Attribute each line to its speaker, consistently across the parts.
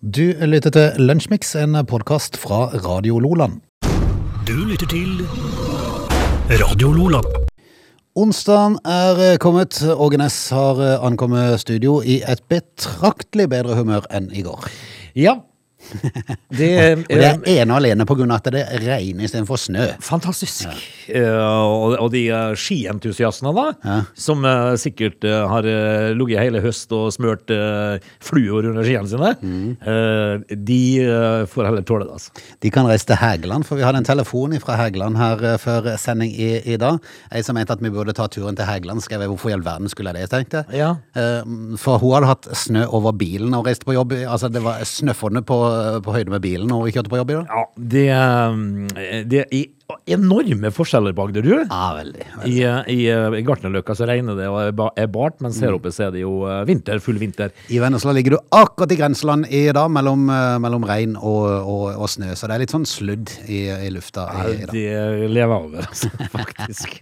Speaker 1: Du lytter til Lunsjmix, en podkast fra Radio Loland.
Speaker 2: Du lytter til Radio Lola.
Speaker 1: Onsdagen er kommet. Åge Næss har ankommet studio i et betraktelig bedre humør enn i går.
Speaker 3: Ja. Det er,
Speaker 1: Og det er ene og alene pga. at det regner istedenfor snø.
Speaker 3: fantastisk. Eh, og, og de eh, skientusiastene, da,
Speaker 1: Ja.
Speaker 3: som eh, sikkert eh, har eh, ligget hele høst og smurt eh, fluor under skiene sine, eh, de eh, får heller tåle det. altså.
Speaker 1: De kan reise til Hægeland, for vi hadde en telefon fra Hægeland her eh, før sending i, i dag. Ei som mente at vi burde ta turen til Hægeland, skrev jeg. Hvorfor i all verden skulle jeg det, tenkte jeg.
Speaker 3: Ja.
Speaker 1: Eh, For hun hadde hatt snø over bilen og reiste på jobb. Altså, det var snøfonne på, på høyde med bilen når hun kjørte på jobb i dag.
Speaker 3: Ja, det, eh, det er i- enorme forskjeller på
Speaker 1: Ja,
Speaker 3: Agderud.
Speaker 1: Ah, veldig.
Speaker 3: I, eh, i, eh, i Gartnerløkka så regner det og er ba- er bart, mens her oppe så er det jo eh, vinter, full vinter.
Speaker 1: I Vennesla ligger du akkurat i grenseland i dag, mellom, eh, mellom regn og, og, og snø. Så det er litt sånn sludd i, i lufta i, i dag.
Speaker 3: Det lever jeg over, altså, faktisk.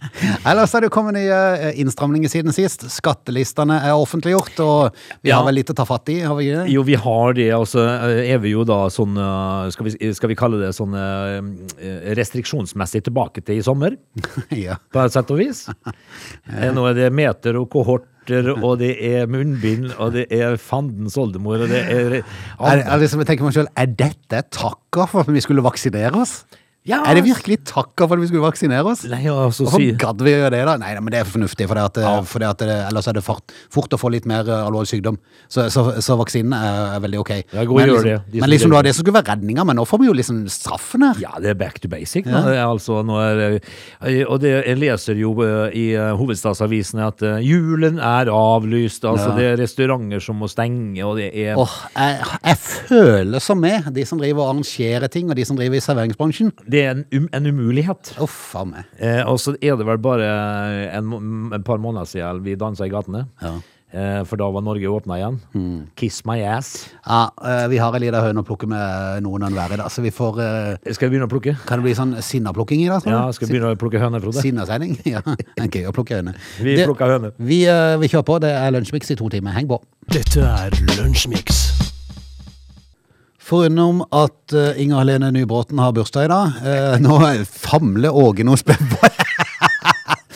Speaker 1: Ellers er det jo kommet nye eh, innstramninger siden sist. Skattelistene er offentliggjort, og vi
Speaker 3: Ja.
Speaker 1: har vel litt å ta fatt i? har vi ikke det?
Speaker 3: Jo, vi har det. Og så eh, er vi jo da sånn eh, Skal vi, skal vi kalle det sånn eh, restriksjonsmessig tilbake til i sommer,
Speaker 1: ja.
Speaker 3: på et sett og vis? Eh, Nå er det meter og kohorter, og det er munnbind, og det er fandens oldemor, og det er
Speaker 1: Er, er, liksom, jeg tenker meg selv, er dette takka for at vi skulle vaksinere oss?
Speaker 3: Ja. altså-
Speaker 1: Er det virkelig takka for at vi skulle vaksinere oss?
Speaker 3: Nei, altså,
Speaker 1: Hvorfor
Speaker 3: si,
Speaker 1: gadd vi gjøre det, da? Nei, nei, men det er fornuftig, for, det at, fordi at det, ellers er det fort, fort å få litt mer eh, alvorlig sykdom. Så, så, så vaksinen er, er veldig ok.
Speaker 3: Ja, gå og
Speaker 1: men
Speaker 3: gjør
Speaker 1: liksom,
Speaker 3: det, de som
Speaker 1: men liksom, det
Speaker 3: gjør
Speaker 1: var det som skulle være redninga, men nå får vi jo liksom straffen her.
Speaker 3: Ja, det er back to basic. nå. Det er altså, nå er, det- eh, og det, jeg leser jo eh, i eh, hovedstadsavisene at eh, julen er avlyst. Altså, Det er restauranter som må stenge, og det er
Speaker 1: Åh, jeg, jeg føler som med de som driver og arrangerer ting, og de som driver i serveringsbransjen.
Speaker 3: Det er en, um, en umulighet.
Speaker 1: Uff a meg.
Speaker 3: Eh, og så er det vel bare en, må- et par måneder siden vi dansa i gatene.
Speaker 1: Ja. Mm.
Speaker 3: Eh, for da var Norge åpna igjen. Kiss my ass.
Speaker 1: Ja, eh, vi har ei lita høne å plukke med eh, noen og enhver i dag, så vi får eh,
Speaker 3: Skal jeg begynne å plukke?
Speaker 1: Kan det bli sånn sinnaplukking i dag? tror du?
Speaker 3: Ja, skal jeg begynne å plukke høner, Frode?
Speaker 1: Sinnasending? Ja. Det er gøy å plukke høne.
Speaker 3: Vi
Speaker 1: Det-
Speaker 3: plukker høner.
Speaker 1: Vi, eh, vi kjører på. Det er Lunsjmix i to timer. Heng på.
Speaker 2: Dette er Lunsjmix.
Speaker 1: Forutenom at eh, Inger Helene Nybråten har bursdag i dag. eh, nå famler Åge noe spennende.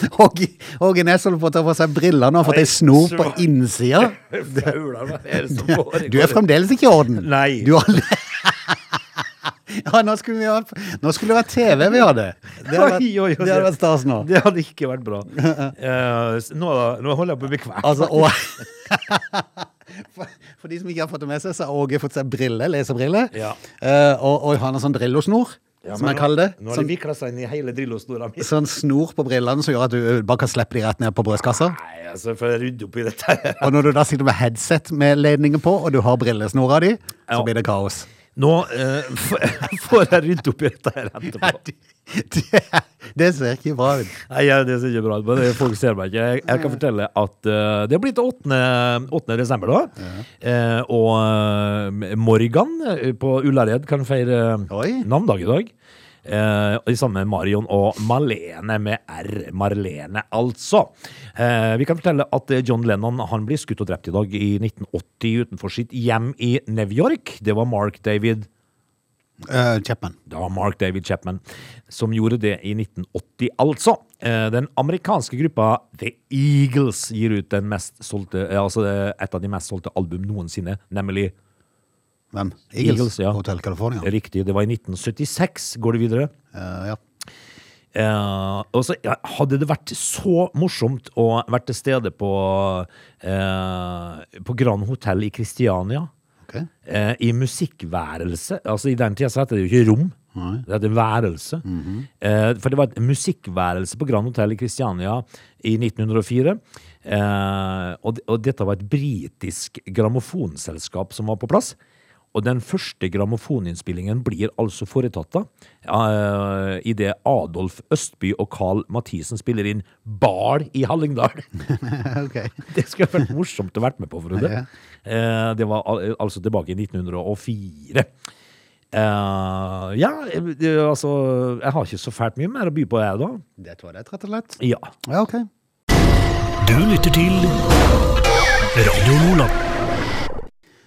Speaker 1: Åge Åge Næss holder på å ta på seg brillene og har fått ei snor på innsida.
Speaker 3: Faula, hva er det som
Speaker 1: Du er
Speaker 3: foregår?
Speaker 1: fremdeles ikke i orden.
Speaker 3: Nei.
Speaker 1: Du har... Ja, nå skulle, vi ha, nå skulle det vært TV vi hadde. Det hadde vært,
Speaker 3: Oi, oi, oi.
Speaker 1: det hadde vært stas nå.
Speaker 3: Det hadde ikke vært bra. Eh, s- nå, nå holder jeg på å bli kvalt.
Speaker 1: Altså, og... For, for de som ikke har fått det med seg, så har Åge fått seg brille, lesebrille.
Speaker 3: Ja.
Speaker 1: Eh, og, og han har sånn drillosnor, som jeg kaller det.
Speaker 3: Nå har
Speaker 1: Sånn-
Speaker 3: det vikla seg inn i hele drillosnora mi.
Speaker 1: sånn snor på brillene som gjør at du bare kan slippe de rett ned på brystkassa.
Speaker 3: Nei, altså, for å rydde opp i dette her.
Speaker 1: Og når du da sitter med headset med ledningen på, og du har brillesnora di, så
Speaker 3: Ja.
Speaker 1: blir det kaos.
Speaker 3: Nå eh, f- får jeg rydde opp i dette her etterpå.
Speaker 1: Det, det, det ser ikke bra ut.
Speaker 3: Nei, ja, det ser ikke bra ut, men det- folk ser meg ikke. Jeg, jeg kan fortelle at eh, det er blitt 8. 8. desember da, Eh, og eh, Morgan eh, på Ullared kan feire
Speaker 1: Oi.
Speaker 3: navndag i dag. Eh, og sammen med Marion og Malene med R. Marlene, altså. Eh, vi kan fortelle at eh, John Lennon han blir skutt og drept i dag i 1980 utenfor sitt hjem i New York. Det var Mark David
Speaker 1: Eh, Chapman.
Speaker 3: det var Mark David Chapman som gjorde det i 1980, altså. Eh, Den amerikanske gruppa The Eagles gir ut den mest solgte, eh, altså eh, et av de mest solgte album noensinne, nemlig
Speaker 1: Hvem? Eagles?
Speaker 3: Eagles, ja.
Speaker 1: Hotel California.
Speaker 3: Riktig, det var i 1976, går det videre.
Speaker 1: Eh, ja.
Speaker 3: Eh, og så ja, hadde det vært så morsomt å være til stede på, eh, på Grand Hotel i Kristiania.
Speaker 1: Ok.
Speaker 3: eh, i musikkværelse. Altså I den tida så heter det jo ikke rom, det heter værelse. eh, for det var et musikkværelse på Grand Hotel i Kristiania i 1904. Eh, og, d- og dette var et britisk grammofonselskap som var på plass. Og den første grammofoninnspillingen blir altså foretatt da, eh, i idet Adolf Østby og Carl Mathisen spiller inn Bal i Hallingdal.
Speaker 1: Ok.
Speaker 3: Det skulle vært morsomt å vært med på, Frode.
Speaker 1: Ja.
Speaker 3: Eh, det var al altså tilbake i 1904. Eh, ja, eh, det, altså Jeg har ikke så fælt mye mer å by på, jeg, da.
Speaker 1: Det tror jeg det er, rett og slett.
Speaker 3: Ja.
Speaker 1: Ja, ok.
Speaker 2: Du lytter til Radio Lola.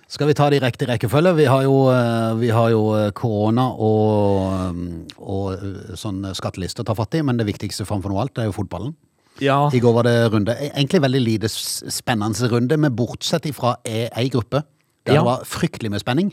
Speaker 1: Skal vi ta det i riktig rekkefølge? Vi har jo, eh, vi har jo eh, korona og, eh, og eh, sånn skatteliste å ta fatt i, men det viktigste framfor noe alt, det er jo fotballen.
Speaker 3: Ja.
Speaker 1: I går var det runde. E-, Egentlig veldig lite s- spennende runde, men bortsett ifra e- ei gruppe. Der
Speaker 3: Ja.
Speaker 1: det var fryktelig med spenning.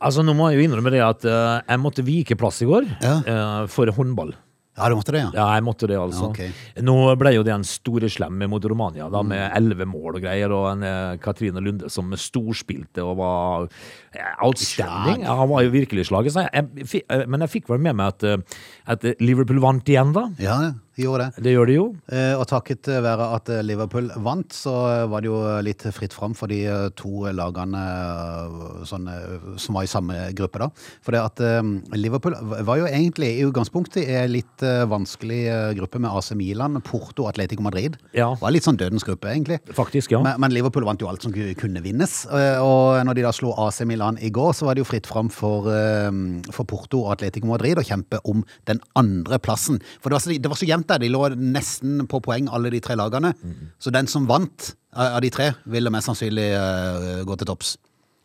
Speaker 3: Altså, nå må jeg jo innrømme det at eh, jeg måtte vike plass i går
Speaker 1: Ja.
Speaker 3: eh, for håndball.
Speaker 1: Ja, du måtte det, ja.
Speaker 3: Ja, jeg måtte det, altså.
Speaker 1: Ja, ok.
Speaker 3: Nå ble jo det en store slem mot Romania, da, med
Speaker 1: Mm.
Speaker 3: elleve mål og greier, og en eh, Katrine Lunde som storspilte og var eh, outstanding.
Speaker 1: Slag.
Speaker 3: Ja, han var jo virkelig i slaget. Så jeg, jeg, fi- eh, men jeg fikk vel med meg at, eh, at Liverpool vant igjen, da.
Speaker 1: Ja, de gjorde det.
Speaker 3: Det gjør de jo.
Speaker 1: Eh, Og takket være at eh, Liverpool vant, så eh, var det jo litt fritt fram for de eh, to lagene eh, sånn, eh, som var i samme gruppe, da. For det at eh, Liverpool v- var jo egentlig i utgangspunktet i en litt eh, vanskelig eh, gruppe med AC Milan, Porto, Atletico Madrid.
Speaker 3: Ja.
Speaker 1: Det var litt sånn dødens gruppe, egentlig.
Speaker 3: Faktisk, ja.
Speaker 1: Men, men Liverpool vant jo alt som ku- kunne vinnes. eh, Og når de da slo AC Milan i går, så var det jo fritt fram for, eh, for Porto og Atletico Madrid å kjempe om den andre plassen. For det var, så, det var så jevnt der. De lå nesten på poeng, alle de tre lagene. Så den som vant eh, av av de tre, ville mest sannsynlig eh, gå til topps.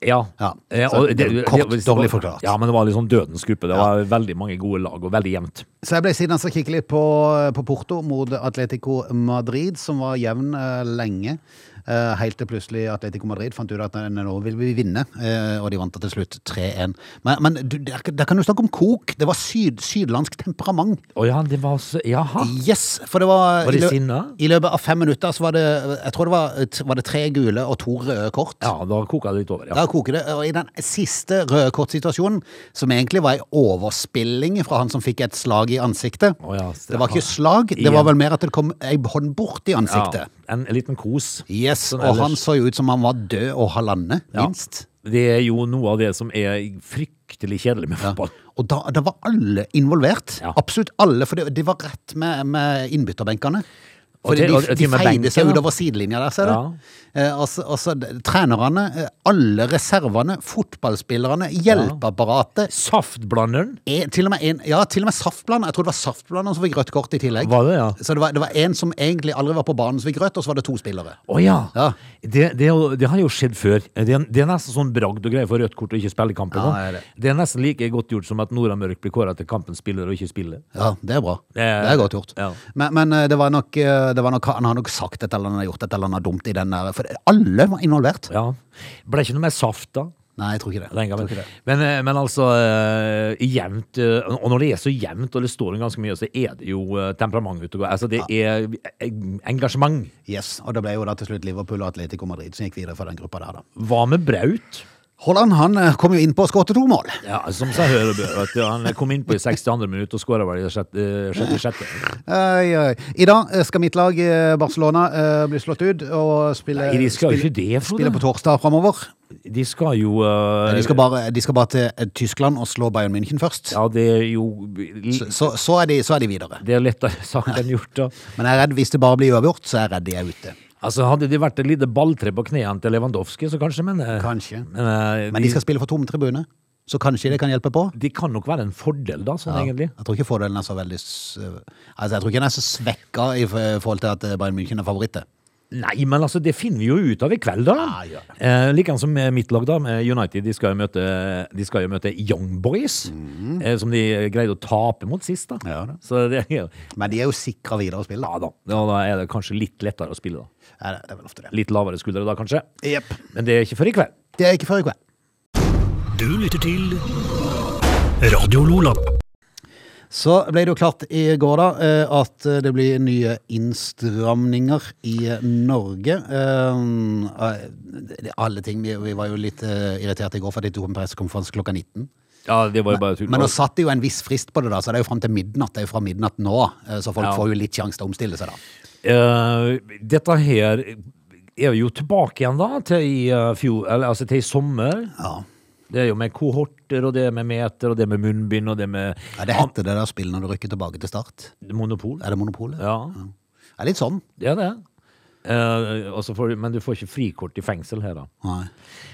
Speaker 3: Ja.
Speaker 1: Ja.
Speaker 3: Eh,
Speaker 1: Så det- kort, dårlig forklart.
Speaker 3: Ja, men det var litt sånn dødens gruppe. Det var veldig mange gode lag, og veldig jevnt.
Speaker 1: Så jeg ble siden så kikke litt på, på Porto mot Atletico Madrid, som var jevn eh, lenge. Eh, helt til plutselig Atletico Madrid fant ut at nei, nei, nå vil vi vinne, eh, og de vant da til slutt 3-1. Men, men du, der, der kan du snakke om kok! Det var syd, sydlandsk temperament.
Speaker 3: Å ja, det var så Jaha.
Speaker 1: Yes! For det var
Speaker 3: Ah. Var de
Speaker 1: i lø-
Speaker 3: sinna?
Speaker 1: I løpet av fem minutter så var det Jeg tror det var, var det tre gule og to røde kort.
Speaker 3: Ja, da koka det litt over, ja.
Speaker 1: Da koker det. Og i den siste røde kort-situasjonen, som egentlig var en overspilling fra han som fikk et slag i ansiktet
Speaker 3: Å ja,
Speaker 1: Det var ikke slag, det var vel mer at det kom ei hånd bort i ansiktet.
Speaker 3: Ja, en liten kos.
Speaker 1: Yes,
Speaker 3: Sånn
Speaker 1: Og han
Speaker 3: ellers.
Speaker 1: så jo ut som han var død og halvannet,
Speaker 3: Ja.
Speaker 1: minst.
Speaker 3: Det er jo noe av det som er fryktelig kjedelig med fotball.
Speaker 1: Og da, da var alle involvert.
Speaker 3: Ja.
Speaker 1: Absolutt alle, for det, det var rett med, med innbytterbenkene.
Speaker 3: Og
Speaker 1: For
Speaker 3: til-
Speaker 1: de,
Speaker 3: og- og
Speaker 1: de
Speaker 3: til og med
Speaker 1: feide seg
Speaker 3: benken, da.
Speaker 1: utover sidelinja der, ser du.
Speaker 3: Ja.
Speaker 1: Eh, og så- og så d- trenerne, eh, alle reservene, fotballspillerne, hjelpeapparatet.
Speaker 3: Saftblanderen
Speaker 1: En, til og med en, ja, til og med saftblanderen. Jeg tror det var saftblanderen som fikk rødt kort i tillegg.
Speaker 3: var det, ja.
Speaker 1: Så det var, det var en som egentlig aldri var på banen som fikk rødt, og så var det to spillere.
Speaker 3: Å ja.
Speaker 1: Ja.
Speaker 3: Det, det, er jo- det har jo skjedd før. Det er, det er nesten sånn bragd og greier for rødt kort å ikke spille kampen.
Speaker 1: Ja,
Speaker 3: nå.
Speaker 1: det er det.
Speaker 3: det er nesten like godt gjort som at Nora Mørk blir kåra til kampens spiller og ikke spiller.
Speaker 1: Ja, det er bra.
Speaker 3: Det
Speaker 1: Det
Speaker 3: er-
Speaker 1: er, godt gjort.
Speaker 3: ja.
Speaker 1: Men, men eh, det var nok, eh, det var nok Han har nok sagt et eller annet, gjort et eller annet dumt i den der For alle var involvert.
Speaker 3: Ja. Ble ikke noe mer saft da.
Speaker 1: Nei, jeg tror ikke det.
Speaker 3: Den gangen.
Speaker 1: Tror ikke det.
Speaker 3: Men, eh, men altså, eh, jevnt eh, Og når det er så jevnt, og det står om ganske mye, så er det jo eh, temperament ute og går. Altså, det er eh, engasjement.
Speaker 1: Yes, og det ble jo da til slutt Liverpool og Atletico Madrid som gikk videre for den gruppa der, da.
Speaker 3: Hva med Braut?
Speaker 1: Haaland han eh, kom jo inn på og skåret to mål.
Speaker 3: Ja, som seg hører bør. vet du. Han kom inn på i 62. minutt og skåra vel i eh, 66.
Speaker 1: Oi, oi. I dag eh, skal mitt lag, eh, Barcelona, eh, bli slått ut og spille,
Speaker 3: Nei, de skal jo
Speaker 1: spille,
Speaker 3: ikke det, Frode.
Speaker 1: spille Eh, på torsdag framover.
Speaker 3: De skal jo eh,
Speaker 1: De skal, bare, de skal bare til eh, Tyskland og slå Bayern München først.
Speaker 3: Ja, det er jo
Speaker 1: Så, så, er de, så er de videre.
Speaker 3: Det er lettere sagt enn gjort, da.
Speaker 1: Men jeg er redd hvis det bare blir uavgjort, så er jeg redd de er ute.
Speaker 3: Altså, Hadde det vært et lite balltre på knærne til Lewandowski, så kanskje, men eh,
Speaker 1: Kanskje.
Speaker 3: Men, eh,
Speaker 1: Men de skal spille for tomme tribuner, så kanskje det kan hjelpe på.
Speaker 3: de kan nok være en fordel, da, sånn egentlig.
Speaker 1: Jeg tror ikke fordelen er så veldig s- øh, Altså, jeg tror ikke den er så svekka i f- forhold til at eh, Bayern München er favoritter.
Speaker 3: Nei, men altså, det finner vi jo ut av i kveld, da.
Speaker 1: Ah, Ja, gjør
Speaker 3: eh, Likeens som eh, mitt lag, da. med United de skal jo møte, de skal jo møte Young Boys, eh, som de greide å tape mot sist, da.
Speaker 1: Mhm. Ja, da.
Speaker 3: Så det er jo
Speaker 1: Men de er jo sikra videre å spille, da.
Speaker 3: Ja da. Ja, da er det kanskje litt lettere å spille, da.
Speaker 1: Ja, det- det er vel ofte det.
Speaker 3: Litt lavere skuldre da, kanskje.
Speaker 1: Jepp.
Speaker 3: Men det er ikke før i kveld.
Speaker 1: Det er ikke før i kveld.
Speaker 2: Du lytter til Radio Lola.
Speaker 1: Så ble det jo klart i går da eh, at eh, det blir nye innstramninger i eh, Norge. Eh, eh, Alle ting, vi, vi var jo litt eh, irriterte i går for at de tok en pressekonferanse klokka 19.
Speaker 3: Ja, det var jo bare tull.
Speaker 1: Men altså- nå satt det jo en viss frist på det, da, så det er jo fram til midnatt. Det er jo fra midnatt nå, eh, så folk
Speaker 3: Ja.
Speaker 1: får jo litt sjanse til å omstille seg, da.
Speaker 3: Eh, dette her er vi jo tilbake igjen da, til i, eh, fjor, eller, altså, til i sommer.
Speaker 1: Ja.
Speaker 3: Det er jo med kohorter, og det er med meter, og det er med munnbind, og det er med
Speaker 1: Ja, det heter det der spillet når du rykker tilbake til start.
Speaker 3: monopol.
Speaker 1: Er det Monopolet?
Speaker 3: Ja,
Speaker 1: Det er litt sånn.
Speaker 3: det er det. Eh, og så får, du- men du får ikke frikort i fengsel her, da.
Speaker 1: Nei.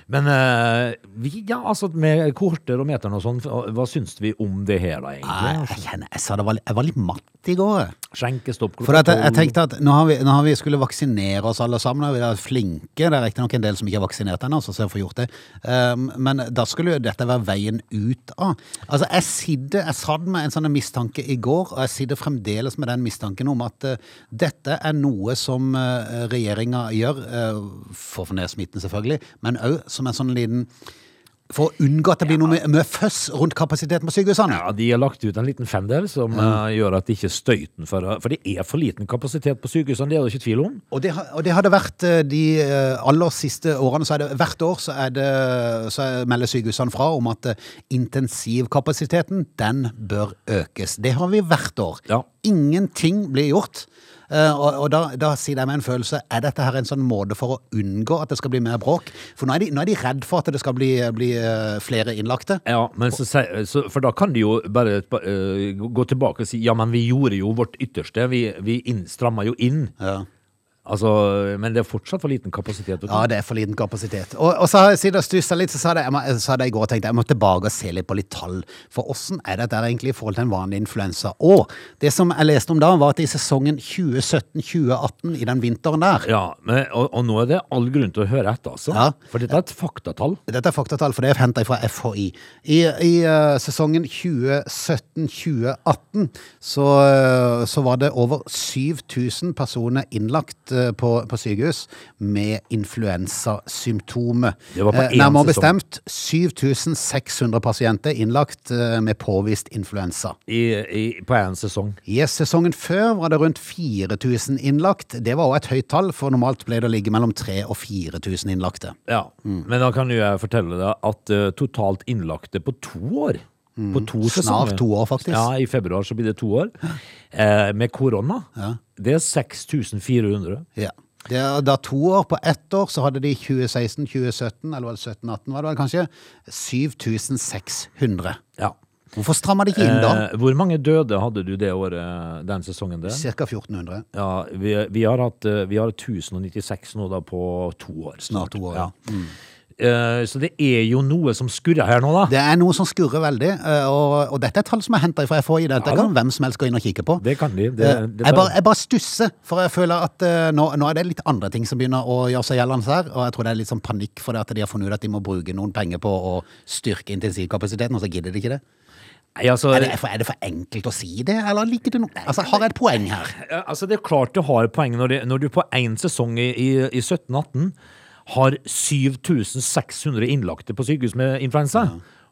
Speaker 3: Men eh, vi, ja, altså med kohorter og meteren og sånn, hva syns vi om det her, da, egentlig?
Speaker 1: altså. Nei, jeg kjenner, jeg sa det var, jeg var litt matt i går. eh. jeg.
Speaker 3: Skjenkestopp klokka
Speaker 1: For at jeg, jeg
Speaker 3: tolv.
Speaker 1: tenkte at når vi, når vi skulle vaksinere oss alle sammen, og vi er flinke, det er riktignok en del som ikke er vaksinert ennå, så jeg får gjort det, um, men da skulle jo dette være veien ut av. Altså, jeg sidde, jeg satt med en sånn mistanke i går, og jeg sitter fremdeles med den mistanken om at eh, dette er noe som uh, regjeringa gjør, eh, for å få ned smitten selvfølgelig, men òg som en sånn liten for å unngå at det blir noe mye- mye føss rundt kapasiteten på sykehusene.
Speaker 3: Ja, De har lagt ut en liten fender som eh, gjør at det ikke er støyten for For det er for liten kapasitet på sykehusene, det er det ikke tvil om.
Speaker 1: Og det, har- og det hadde vært eh, de eh, aller siste årene, så er det hvert år så, er det, så er- melder sykehusene fra om at eh, intensivkapasiteten, den bør økes. Det har vi hvert år.
Speaker 3: Ja.
Speaker 1: Ingenting blir gjort. Eh, Og, og da, da sier jeg med en følelse, er dette her en sånn måte for å unngå at det skal bli mer bråk? For nå er de, nå er de redd for at det skal bli, bli eh, flere innlagte.
Speaker 3: Ja, men så, sier- så, For da kan de jo bare et par- eh, gå tilbake og si ja, men vi gjorde jo vårt ytterste, vi, vi inn, stramma jo inn.
Speaker 1: Ja.
Speaker 3: Altså, Men det er fortsatt for liten kapasitet. vet du.
Speaker 1: Ja, det er for liten kapasitet. Og, og så har jeg siden jeg stusset litt, så sa jeg, må- så hadde jeg i går tenkt jeg må tilbake og se litt på litt tall. For åssen er dette her egentlig i forhold til en vanlig influensa? Og det som jeg leste om da, var at i sesongen 2017-2018, i den vinteren der
Speaker 3: Ja, men, og, og nå er det all grunn til å høre etter, altså.
Speaker 1: Ja.
Speaker 3: For dette er et faktatall.
Speaker 1: Dette er faktatall, for det er henta fra FHI. I, i eh, sesongen 2017-2018 så, eh, så var det over 7000 personer innlagt eh, på, på sykehus med influensasymptomer.
Speaker 3: Det var på
Speaker 1: Eh,
Speaker 3: én
Speaker 1: Nærmere
Speaker 3: sesong.
Speaker 1: bestemt 7600 pasienter innlagt eh, med påvist influensa.
Speaker 3: I, i, på én sesong.
Speaker 1: I sesongen før var det rundt 4000 innlagt. Det var òg et høyt tall, for normalt ble det å ligge mellom 3000 og 4000 innlagte.
Speaker 3: Ja.
Speaker 1: Mm.
Speaker 3: Men da kan jo jeg fortelle deg at eh, totalt innlagte på to år På to
Speaker 1: Mm.
Speaker 3: sesonger.
Speaker 1: Snart to år, faktisk.
Speaker 3: Ja, i februar så blir det to år. Eh, med korona. Det er 6400.
Speaker 1: Ja. Det er da to år på ett år så hadde de 2016, 2017, eller var det 17, 18 var det vel kanskje, 7600.
Speaker 3: Ja.
Speaker 1: Hvorfor strammer de ikke inn da?
Speaker 3: Eh, hvor mange døde hadde du det året, den sesongen der?
Speaker 1: Eh, Cirka 1400.
Speaker 3: Ja, vi, vi har hatt eh, vi har 1096 nå da på to år.
Speaker 1: Snart to år, ja.
Speaker 3: Eh, så det er jo noe som skurrer her nå, da.
Speaker 1: Det er noe som skurrer veldig, eh, og, og dette er tall som er hentet fra FHI. Dette
Speaker 3: Ja da.
Speaker 1: kan hvem som helst gå inn og kikke på.
Speaker 3: Det kan de. Det,
Speaker 1: Eh,
Speaker 3: det
Speaker 1: jeg, bare, jeg bare stusser, for jeg føler at eh, nå, nå er det litt andre ting som begynner å gjøre seg gjeldende her, og jeg tror det er litt sånn panikk for det at de har funnet ut at de må bruke noen penger på å styrke intensivkapasiteten, og så gidder de ikke det.
Speaker 3: Nei, altså,
Speaker 1: Er det, for, er det for enkelt å si det, eller liker det noe? Altså, har jeg et poeng her?
Speaker 3: Eh, Altså, det er klart du har poeng når, det, når du på én sesong i, i, i 17-18 har 7600 innlagte på sykehus med influensa,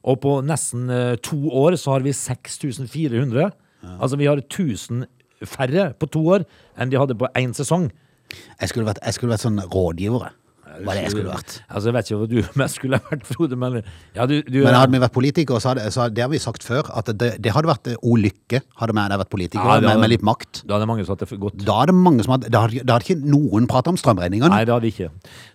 Speaker 3: og på nesten eh, to år så har vi 6400. Altså, vi har 1000 færre på to år enn de hadde på én sesong.
Speaker 1: Jeg skulle vært, jeg skulle vært sånn rådgiver. jeg. Hva er det jeg skulle vært?
Speaker 3: Altså, jeg vet ikke hva du mest skulle vært, Frode, men ja, du, du
Speaker 1: Men hadde vi vært politikere, så hadde, så hadde det har vi sagt før, at det, det hadde vært eh, O lykke, hadde vi hadde vært politikere,
Speaker 3: Ja, det hadde-
Speaker 1: med, med litt makt.
Speaker 3: Da hadde mange sagt det for godt.
Speaker 1: Da hadde mange som hadde, da hadde, da hadde ikke noen pratet om strømregningene.
Speaker 3: Nei, det hadde ikke.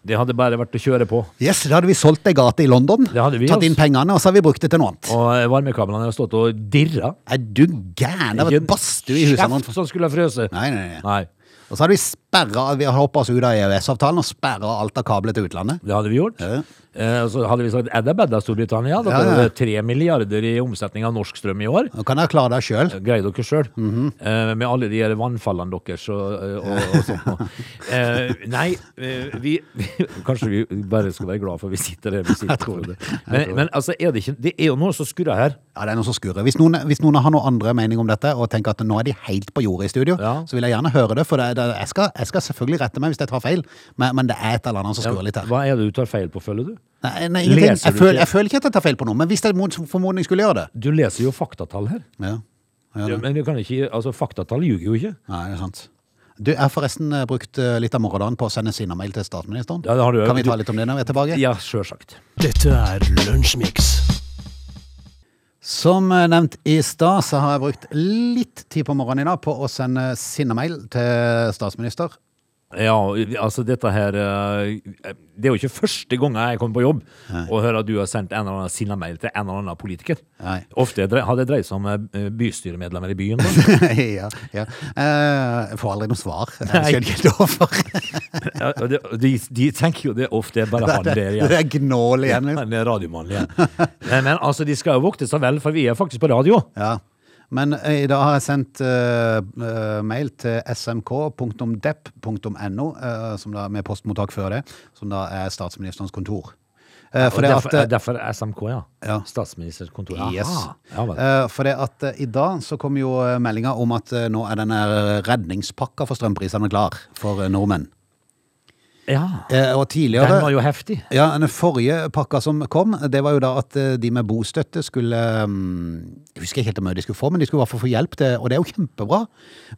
Speaker 3: Det hadde bare vært å kjøre på.
Speaker 1: Yes, da hadde vi solgt ei gate i London,
Speaker 3: hadde vi,
Speaker 1: tatt inn
Speaker 3: altså.
Speaker 1: pengene, og så hadde vi brukt det til noe annet.
Speaker 3: Og eh, varmekablene hadde stått og dirra.
Speaker 1: Er du gæren? Det hadde vært badstue i husene.
Speaker 3: Kjeft som skulle ha frøse.
Speaker 1: Nei, nei, nei.
Speaker 3: Nei,
Speaker 1: Og så hadde vi sperra, vi hadde hoppa oss ut av EØS-avtalen og sperra alt av kabler til utlandet.
Speaker 3: det hadde vi gjort.
Speaker 1: Ja.
Speaker 3: Eh, og så hadde vi sagt edda bedda Storbritannia. Dere
Speaker 1: Ja, ja.
Speaker 3: hadde tre milliarder i omsetning av norsk strøm i år.
Speaker 1: Nå kan dere klare det sjøl.
Speaker 3: Greide dere sjøl,
Speaker 1: Mhm.
Speaker 3: eh, med alle de her vannfallene deres og, eh, og, og sånt. nå. Eh, nei, eh, vi, vi Kanskje vi bare skal være glad for vi sitter der vi sitter. Frode. Men, men altså, er det, ikke, det er jo noe som skurrer her.
Speaker 1: Ja, det er noe som skurrer. Hvis noen, hvis noen har noen andre mening om dette, og tenker at nå er de helt på jordet i studio,
Speaker 3: Ja.
Speaker 1: så vil jeg gjerne høre det. For det, det, jeg, skal, jeg skal selvfølgelig rette meg hvis jeg tar feil, men, men det er et eller annet som skurrer litt her.
Speaker 3: Hva er det du tar feil på, føler du?
Speaker 1: Nei, nei, ingenting.
Speaker 3: Leser
Speaker 1: jeg,
Speaker 3: du
Speaker 1: føler,
Speaker 3: ikke?
Speaker 1: jeg føler ikke at jeg tar feil på noe, men hvis jeg mot formodning skulle gjøre det
Speaker 3: Du leser jo faktatall her.
Speaker 1: ja. Ja,
Speaker 3: Ja,
Speaker 1: da.
Speaker 3: men du kan ikke, altså, faktatall ljuger jo ikke.
Speaker 1: Nei, det er sant. Du, jeg har forresten eh, brukt eh, litt av morgendagen på å sende Sinna-mail til statsministeren.
Speaker 3: Ja, det har du.
Speaker 1: Kan vi ta litt om det når vi er tilbake?
Speaker 3: Ja, sjølsagt.
Speaker 2: Dette er Lunsjmix.
Speaker 1: Som eh, nevnt i stad, så har jeg brukt litt tid på morgenen i dag på å sende sinnemail til statsminister.
Speaker 3: Ja, altså dette her eh, Det er jo ikke første gang jeg kommer på jobb og hører at du har sendt en eller annen sinna mail til en eller annen politiker.
Speaker 1: Nei.
Speaker 3: Ofte dre- har det dreid seg om eh, bystyremedlemmer i byen. Da.
Speaker 1: ja, ja. Eh, jeg får aldri noe svar. Jeg skjønner ikke helt hvorfor.
Speaker 3: Ja, og det- og de, de tenker jo det ofte er bare han
Speaker 1: Det
Speaker 3: der igjen.
Speaker 1: det er gnål igjen. liksom.
Speaker 3: Han er radiomannen igjen. Nei, Men altså, de skal jo vokte seg vel, for vi er faktisk på radio.
Speaker 1: Ja. Men eh, i dag har jeg sendt eh, eh, mail til smk.depp.no, eh, som da med postmottak før det, som da er statsministerens kontor. Eh,
Speaker 3: Og
Speaker 1: for det
Speaker 3: derfor,
Speaker 1: at, eh,
Speaker 3: derfor er SMK, ja.
Speaker 1: Ja.
Speaker 3: Statsministerkontoret.
Speaker 1: Yes.
Speaker 3: Aha. Ja, vel.
Speaker 1: Eh, For det at eh, i dag så kom jo eh, meldinga om at eh, nå er denne redningspakka for strømprisene klar for eh, nordmenn.
Speaker 3: ja.
Speaker 1: Eh, Og
Speaker 3: Den var
Speaker 1: tidligere
Speaker 3: jo heftig.
Speaker 1: ja, Den forrige pakka som kom, det var jo da at eh, de med bostøtte skulle mm, Jeg husker ikke helt hvor mye de skulle få, men de skulle i hvert fall få hjelp til Og det er jo kjempebra.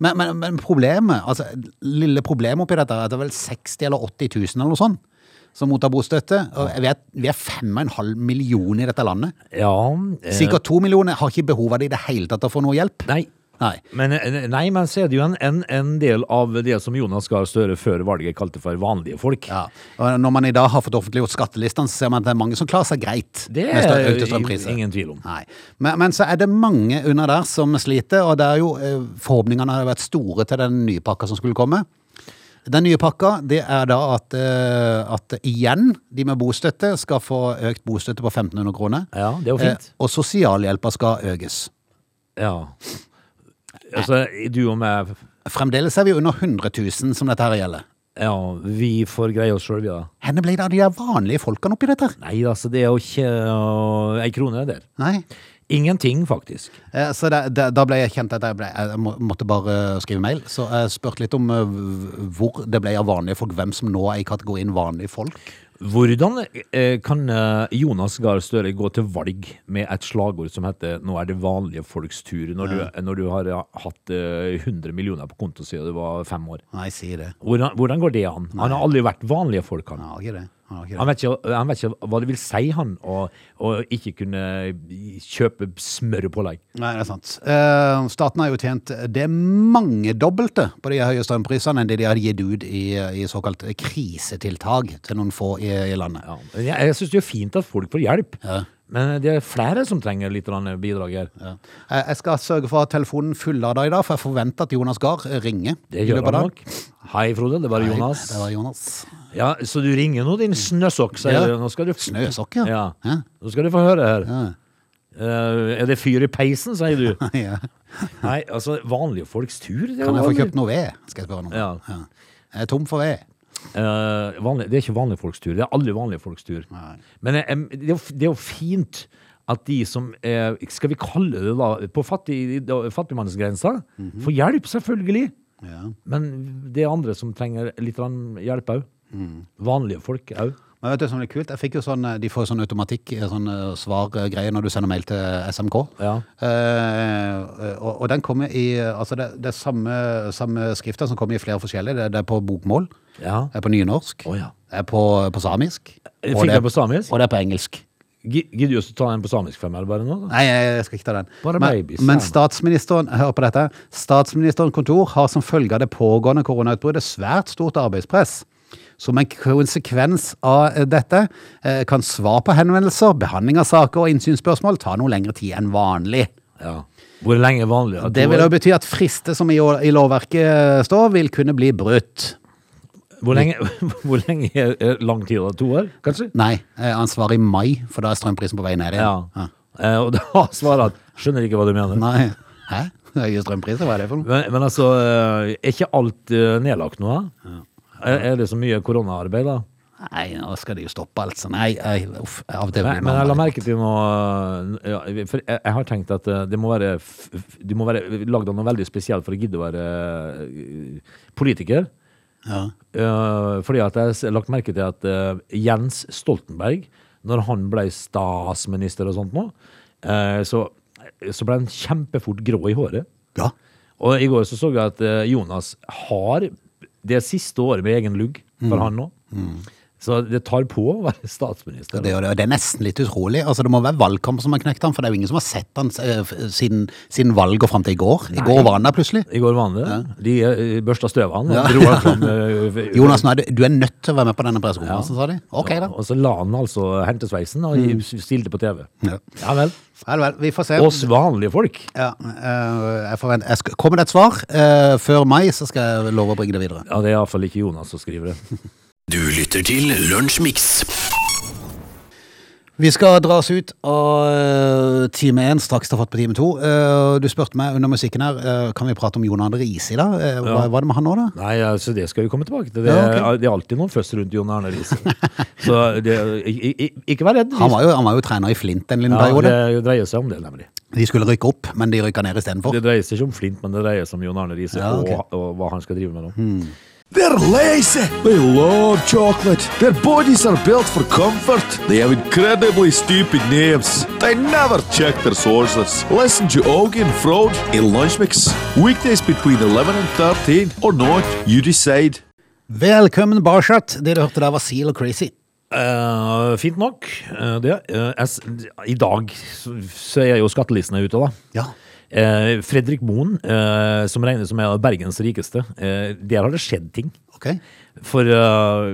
Speaker 1: Men, men, men problemet, altså lille problemet oppi dette, er at det er vel 60 000 eller 80 000 eller noe sånt som mottar bostøtte. Og vi er, vi er 5,5 millioner i dette landet.
Speaker 3: Ja. eh,
Speaker 1: Sikkert to millioner har ikke behov av det i det hele tatt å få noe hjelp.
Speaker 3: Nei.
Speaker 1: Nei.
Speaker 3: Men, eh, nei, men så er det jo en, en, en del av det som Jonas Gahr Støre før valget kalte for vanlige folk.
Speaker 1: Ja. Og når man i dag har fått offentliggjort skattelistene, så ser man at det er mange som klarer seg greit.
Speaker 3: Det
Speaker 1: med stø-
Speaker 3: er
Speaker 1: økte strømpriser.
Speaker 3: ingen tvil om.
Speaker 1: Nei. Men, men så er det mange under der som sliter, og det er jo, eh, forhåpningene har vært store til den nye pakka som skulle komme. Den nye pakka det er da at, eh, at igjen de med bostøtte skal få økt bostøtte på 1500 kroner.
Speaker 3: Ja, det er jo fint.
Speaker 1: Eh, og sosialhjelpa skal økes.
Speaker 3: Ja. Altså, du og meg
Speaker 1: Fremdeles er vi under 100 000 som dette her gjelder.
Speaker 3: Ja, vi får greie oss sjøl, vi da.
Speaker 1: Hvor ble det av de der vanlige folkene oppi dette? her?
Speaker 3: Nei, altså, det er jo ikke øh, ei krone der.
Speaker 1: Nei.
Speaker 3: Ingenting, faktisk.
Speaker 1: Eh, Så da, da, da ble jeg kjent at jeg, ble, jeg må- måtte bare skrive mail. Så jeg spurte litt om eh, v- hvor det ble av vanlige folk, hvem som nå er i kategorien vanlige folk.
Speaker 3: Hvordan eh, kan eh, Jonas Gahr Støre gå til valg med et slagord som heter 'Nå er det vanlige folks tur', når, du, når du har ja, hatt eh, 100 millioner på konto siden du var fem år?
Speaker 1: Nei, si det.
Speaker 3: Hvordan, hvordan går det an? Han har aldri vært vanlige folk, han.
Speaker 1: Han har ikke det. Han har ikke det.
Speaker 3: Han vet, ikke, han vet ikke hva det vil si, han, å å ikke kunne kjøpe smør og pålegg.
Speaker 1: Nei, det er sant. Eh, staten har jo tjent det mangedobbelte på de høye strømprisene enn det de hadde gitt ut i, i såkalt krisetiltak til noen få i, i landet.
Speaker 3: Ja. men Jeg, jeg syns det er fint at folk får hjelp,
Speaker 1: Ja.
Speaker 3: men det er flere som trenger litt grann bidrag her.
Speaker 1: Ja. Eh, Jeg skal sørge for at telefonen fullada i dag, for jeg forventer at Jonas Gahr ringer.
Speaker 3: Det
Speaker 1: i løpet
Speaker 3: gjør
Speaker 1: av
Speaker 3: han
Speaker 1: dagen.
Speaker 3: nok. Hei, Frode. Det var
Speaker 1: Nei,
Speaker 3: Jonas.
Speaker 1: Det var Jonas.
Speaker 3: Ja, Så du ringer nå, din snøsokk, sier
Speaker 1: Ja.
Speaker 3: du. Nå skal du
Speaker 1: Snøsokk, ja.
Speaker 3: Ja.
Speaker 1: Ja.
Speaker 3: Nå skal du få høre her.
Speaker 1: Ja.
Speaker 3: Eh, er det fyr i peisen, sier du?
Speaker 1: ja.
Speaker 3: Nei, altså, vanlige folks tur. Det er
Speaker 1: Kan jeg
Speaker 3: jo
Speaker 1: få
Speaker 3: aldri-
Speaker 1: kjøpt noe ved? Skal jeg spørre noe.
Speaker 3: Ja.
Speaker 1: Jeg er tom for ved.
Speaker 3: Eh, vanlig, det er ikke vanlige folks tur. Det er aldri vanlige folks tur.
Speaker 1: Nei.
Speaker 3: Men eh, em, det, er jo, f- det er jo fint at de som er, skal vi kalle det da, på fattig, da- fattigmannsgrensa,
Speaker 1: Mhm.
Speaker 3: får hjelp, selvfølgelig.
Speaker 1: Ja.
Speaker 3: Men det er andre som trenger litt grann hjelp òg.
Speaker 1: Mhm.
Speaker 3: Vanlige folk òg.
Speaker 1: Men vet du som er kult? Jeg fikk jo sånn, eh, De får jo sånn automatikk, eh, sånn eh, svargreie når du sender mail til SMK.
Speaker 3: Ja.
Speaker 1: Eh, og, og den kommer i eh, Altså, det, det er samme, samme skriften som kommer i flere forskjellige. Det, det er på bokmål,
Speaker 3: Ja.
Speaker 1: det er på nynorsk,
Speaker 3: Å, ja.
Speaker 1: det er på, på samisk.
Speaker 3: Fikk
Speaker 1: og det-
Speaker 3: jeg på samisk?
Speaker 1: Og det er på engelsk.
Speaker 3: Gi- Gidder du å ta en på samisk for meg eller bare nå? Da?
Speaker 1: Nei, jeg skal ikke ta den.
Speaker 3: Bare
Speaker 1: men,
Speaker 3: baby,
Speaker 1: men
Speaker 3: sa
Speaker 1: statsministeren, hør på dette. Statsministerens kontor har som følge av det pågående koronautbruddet svært stort arbeidspress. Som en konsekvens av eh, dette eh, kan svar på henvendelser, behandling av saker og innsynsspørsmål ta noe lengre tid enn vanlig.
Speaker 3: Ja. Hvor lenge er vanlig? At
Speaker 1: Det
Speaker 3: du-
Speaker 1: vil jo bety at frister som i, å- i lovverket eh, står, vil kunne bli brutt.
Speaker 3: hvor, lenge, hvor lenge er er lang tid? da? To år, kanskje?
Speaker 1: Nei, eh, han svarer i mai, for da er strømprisen på vei ned
Speaker 3: Ja.
Speaker 1: igjen. Ja.
Speaker 3: Eh, og da svarer han Skjønner ikke hva du mener.
Speaker 1: Nei. Hæ? Høye strømpriser, hva er det for noe?
Speaker 3: Men, men altså, eh, er ikke alt eh, nedlagt nå, da? Er, er det så mye koronaarbeid, da?
Speaker 1: Nei, nå skal de jo stoppe alt sånn. Nei, jeg, uff, av det
Speaker 3: Men,
Speaker 1: blir
Speaker 3: men
Speaker 1: man
Speaker 3: jeg la
Speaker 1: bare-
Speaker 3: merke til noe eh, ja, For jeg, jeg har tenkt at eh, det må være f- f- Du må være lagd av noe veldig spesielt for å gidde å være eh, politiker.
Speaker 1: Ja.
Speaker 3: Eh, fordi at jeg har lagt merke til at eh, Jens Stoltenberg, når han ble statsminister og sånt nå, eh, så, så ble han kjempefort grå i håret.
Speaker 1: Ja.
Speaker 3: Og i går så så jeg at eh, Jonas har det siste året med egen lugg
Speaker 1: Mm.
Speaker 3: for han nå. Så det tar på å være statsminister.
Speaker 1: Det, gjør det, og det er nesten litt utrolig. Altså, det må være valgkamp som har knekt han, for det er jo ingen som har sett han eh, f- siden, siden valg og fram til i går. I går var han der plutselig.
Speaker 3: I går var han det. De eh, børsta støv av han. og
Speaker 1: Ja.
Speaker 3: Dro han fram, eh,
Speaker 1: Jonas, nå er du, du er nødt til å være med på denne pressekonferansen, sa de. Ok, da. Mm.
Speaker 3: Og så la han altså hentesveisen og stilte på TV.
Speaker 1: Ja.
Speaker 3: Ja vel.
Speaker 1: Vel, vel, vi får se.
Speaker 3: Oss vanlige folk.
Speaker 1: Ja, eh, jeg forventer. Jeg skal, kommer det et svar eh, før mai, så skal jeg love å bringe det videre.
Speaker 3: Ja, Det er iallfall ikke Jonas som skriver det.
Speaker 2: Du lytter til Lunsjmix.
Speaker 1: Vi skal dra oss ut av eh, time én, straks ta fatt på time to. Eh, Du spurte meg under musikken her, eh, kan vi prate om Jon Arne Riise i dag? Eh, Hva var det med han nå, da?
Speaker 3: Nei, altså det skal vi komme tilbake til. Det,
Speaker 1: Ja,
Speaker 3: er- det er alltid noen føss rundt Jon Arne Riise. Så det, i- i- ikke vær redd.
Speaker 1: Han var jo, han var jo trener i Flint en liten
Speaker 3: ja,
Speaker 1: periode.
Speaker 3: det dreier seg om det, nemlig.
Speaker 1: De skulle rykke opp, men de rykka ned istedenfor.
Speaker 3: Det dreier seg ikke om Flint, men det dreier seg om Jon Arne Riise
Speaker 1: Ja, ok. Hmm.
Speaker 3: og, og hva han skal drive med nå.
Speaker 4: They're lazy. They love chocolate. Their bodies are built for comfort. They have incredibly stupid names. They never check their sources. Listen to Augie and Frode in Lunch Mix. Weekdays between 11 and 13 or not, you decide.
Speaker 1: Velkommen Barshat. Det du hørte der var Seal og Crazy.
Speaker 3: Eh, fint nok, eh, det. Eh, jeg, s- I dag så så er jo skattelistene ute, da.
Speaker 1: Ja.
Speaker 3: Eh, Fredrik Moen, eh, som regnes som en av Bergens rikeste, eh, der har det skjedd ting.
Speaker 1: Ok.
Speaker 3: For eh,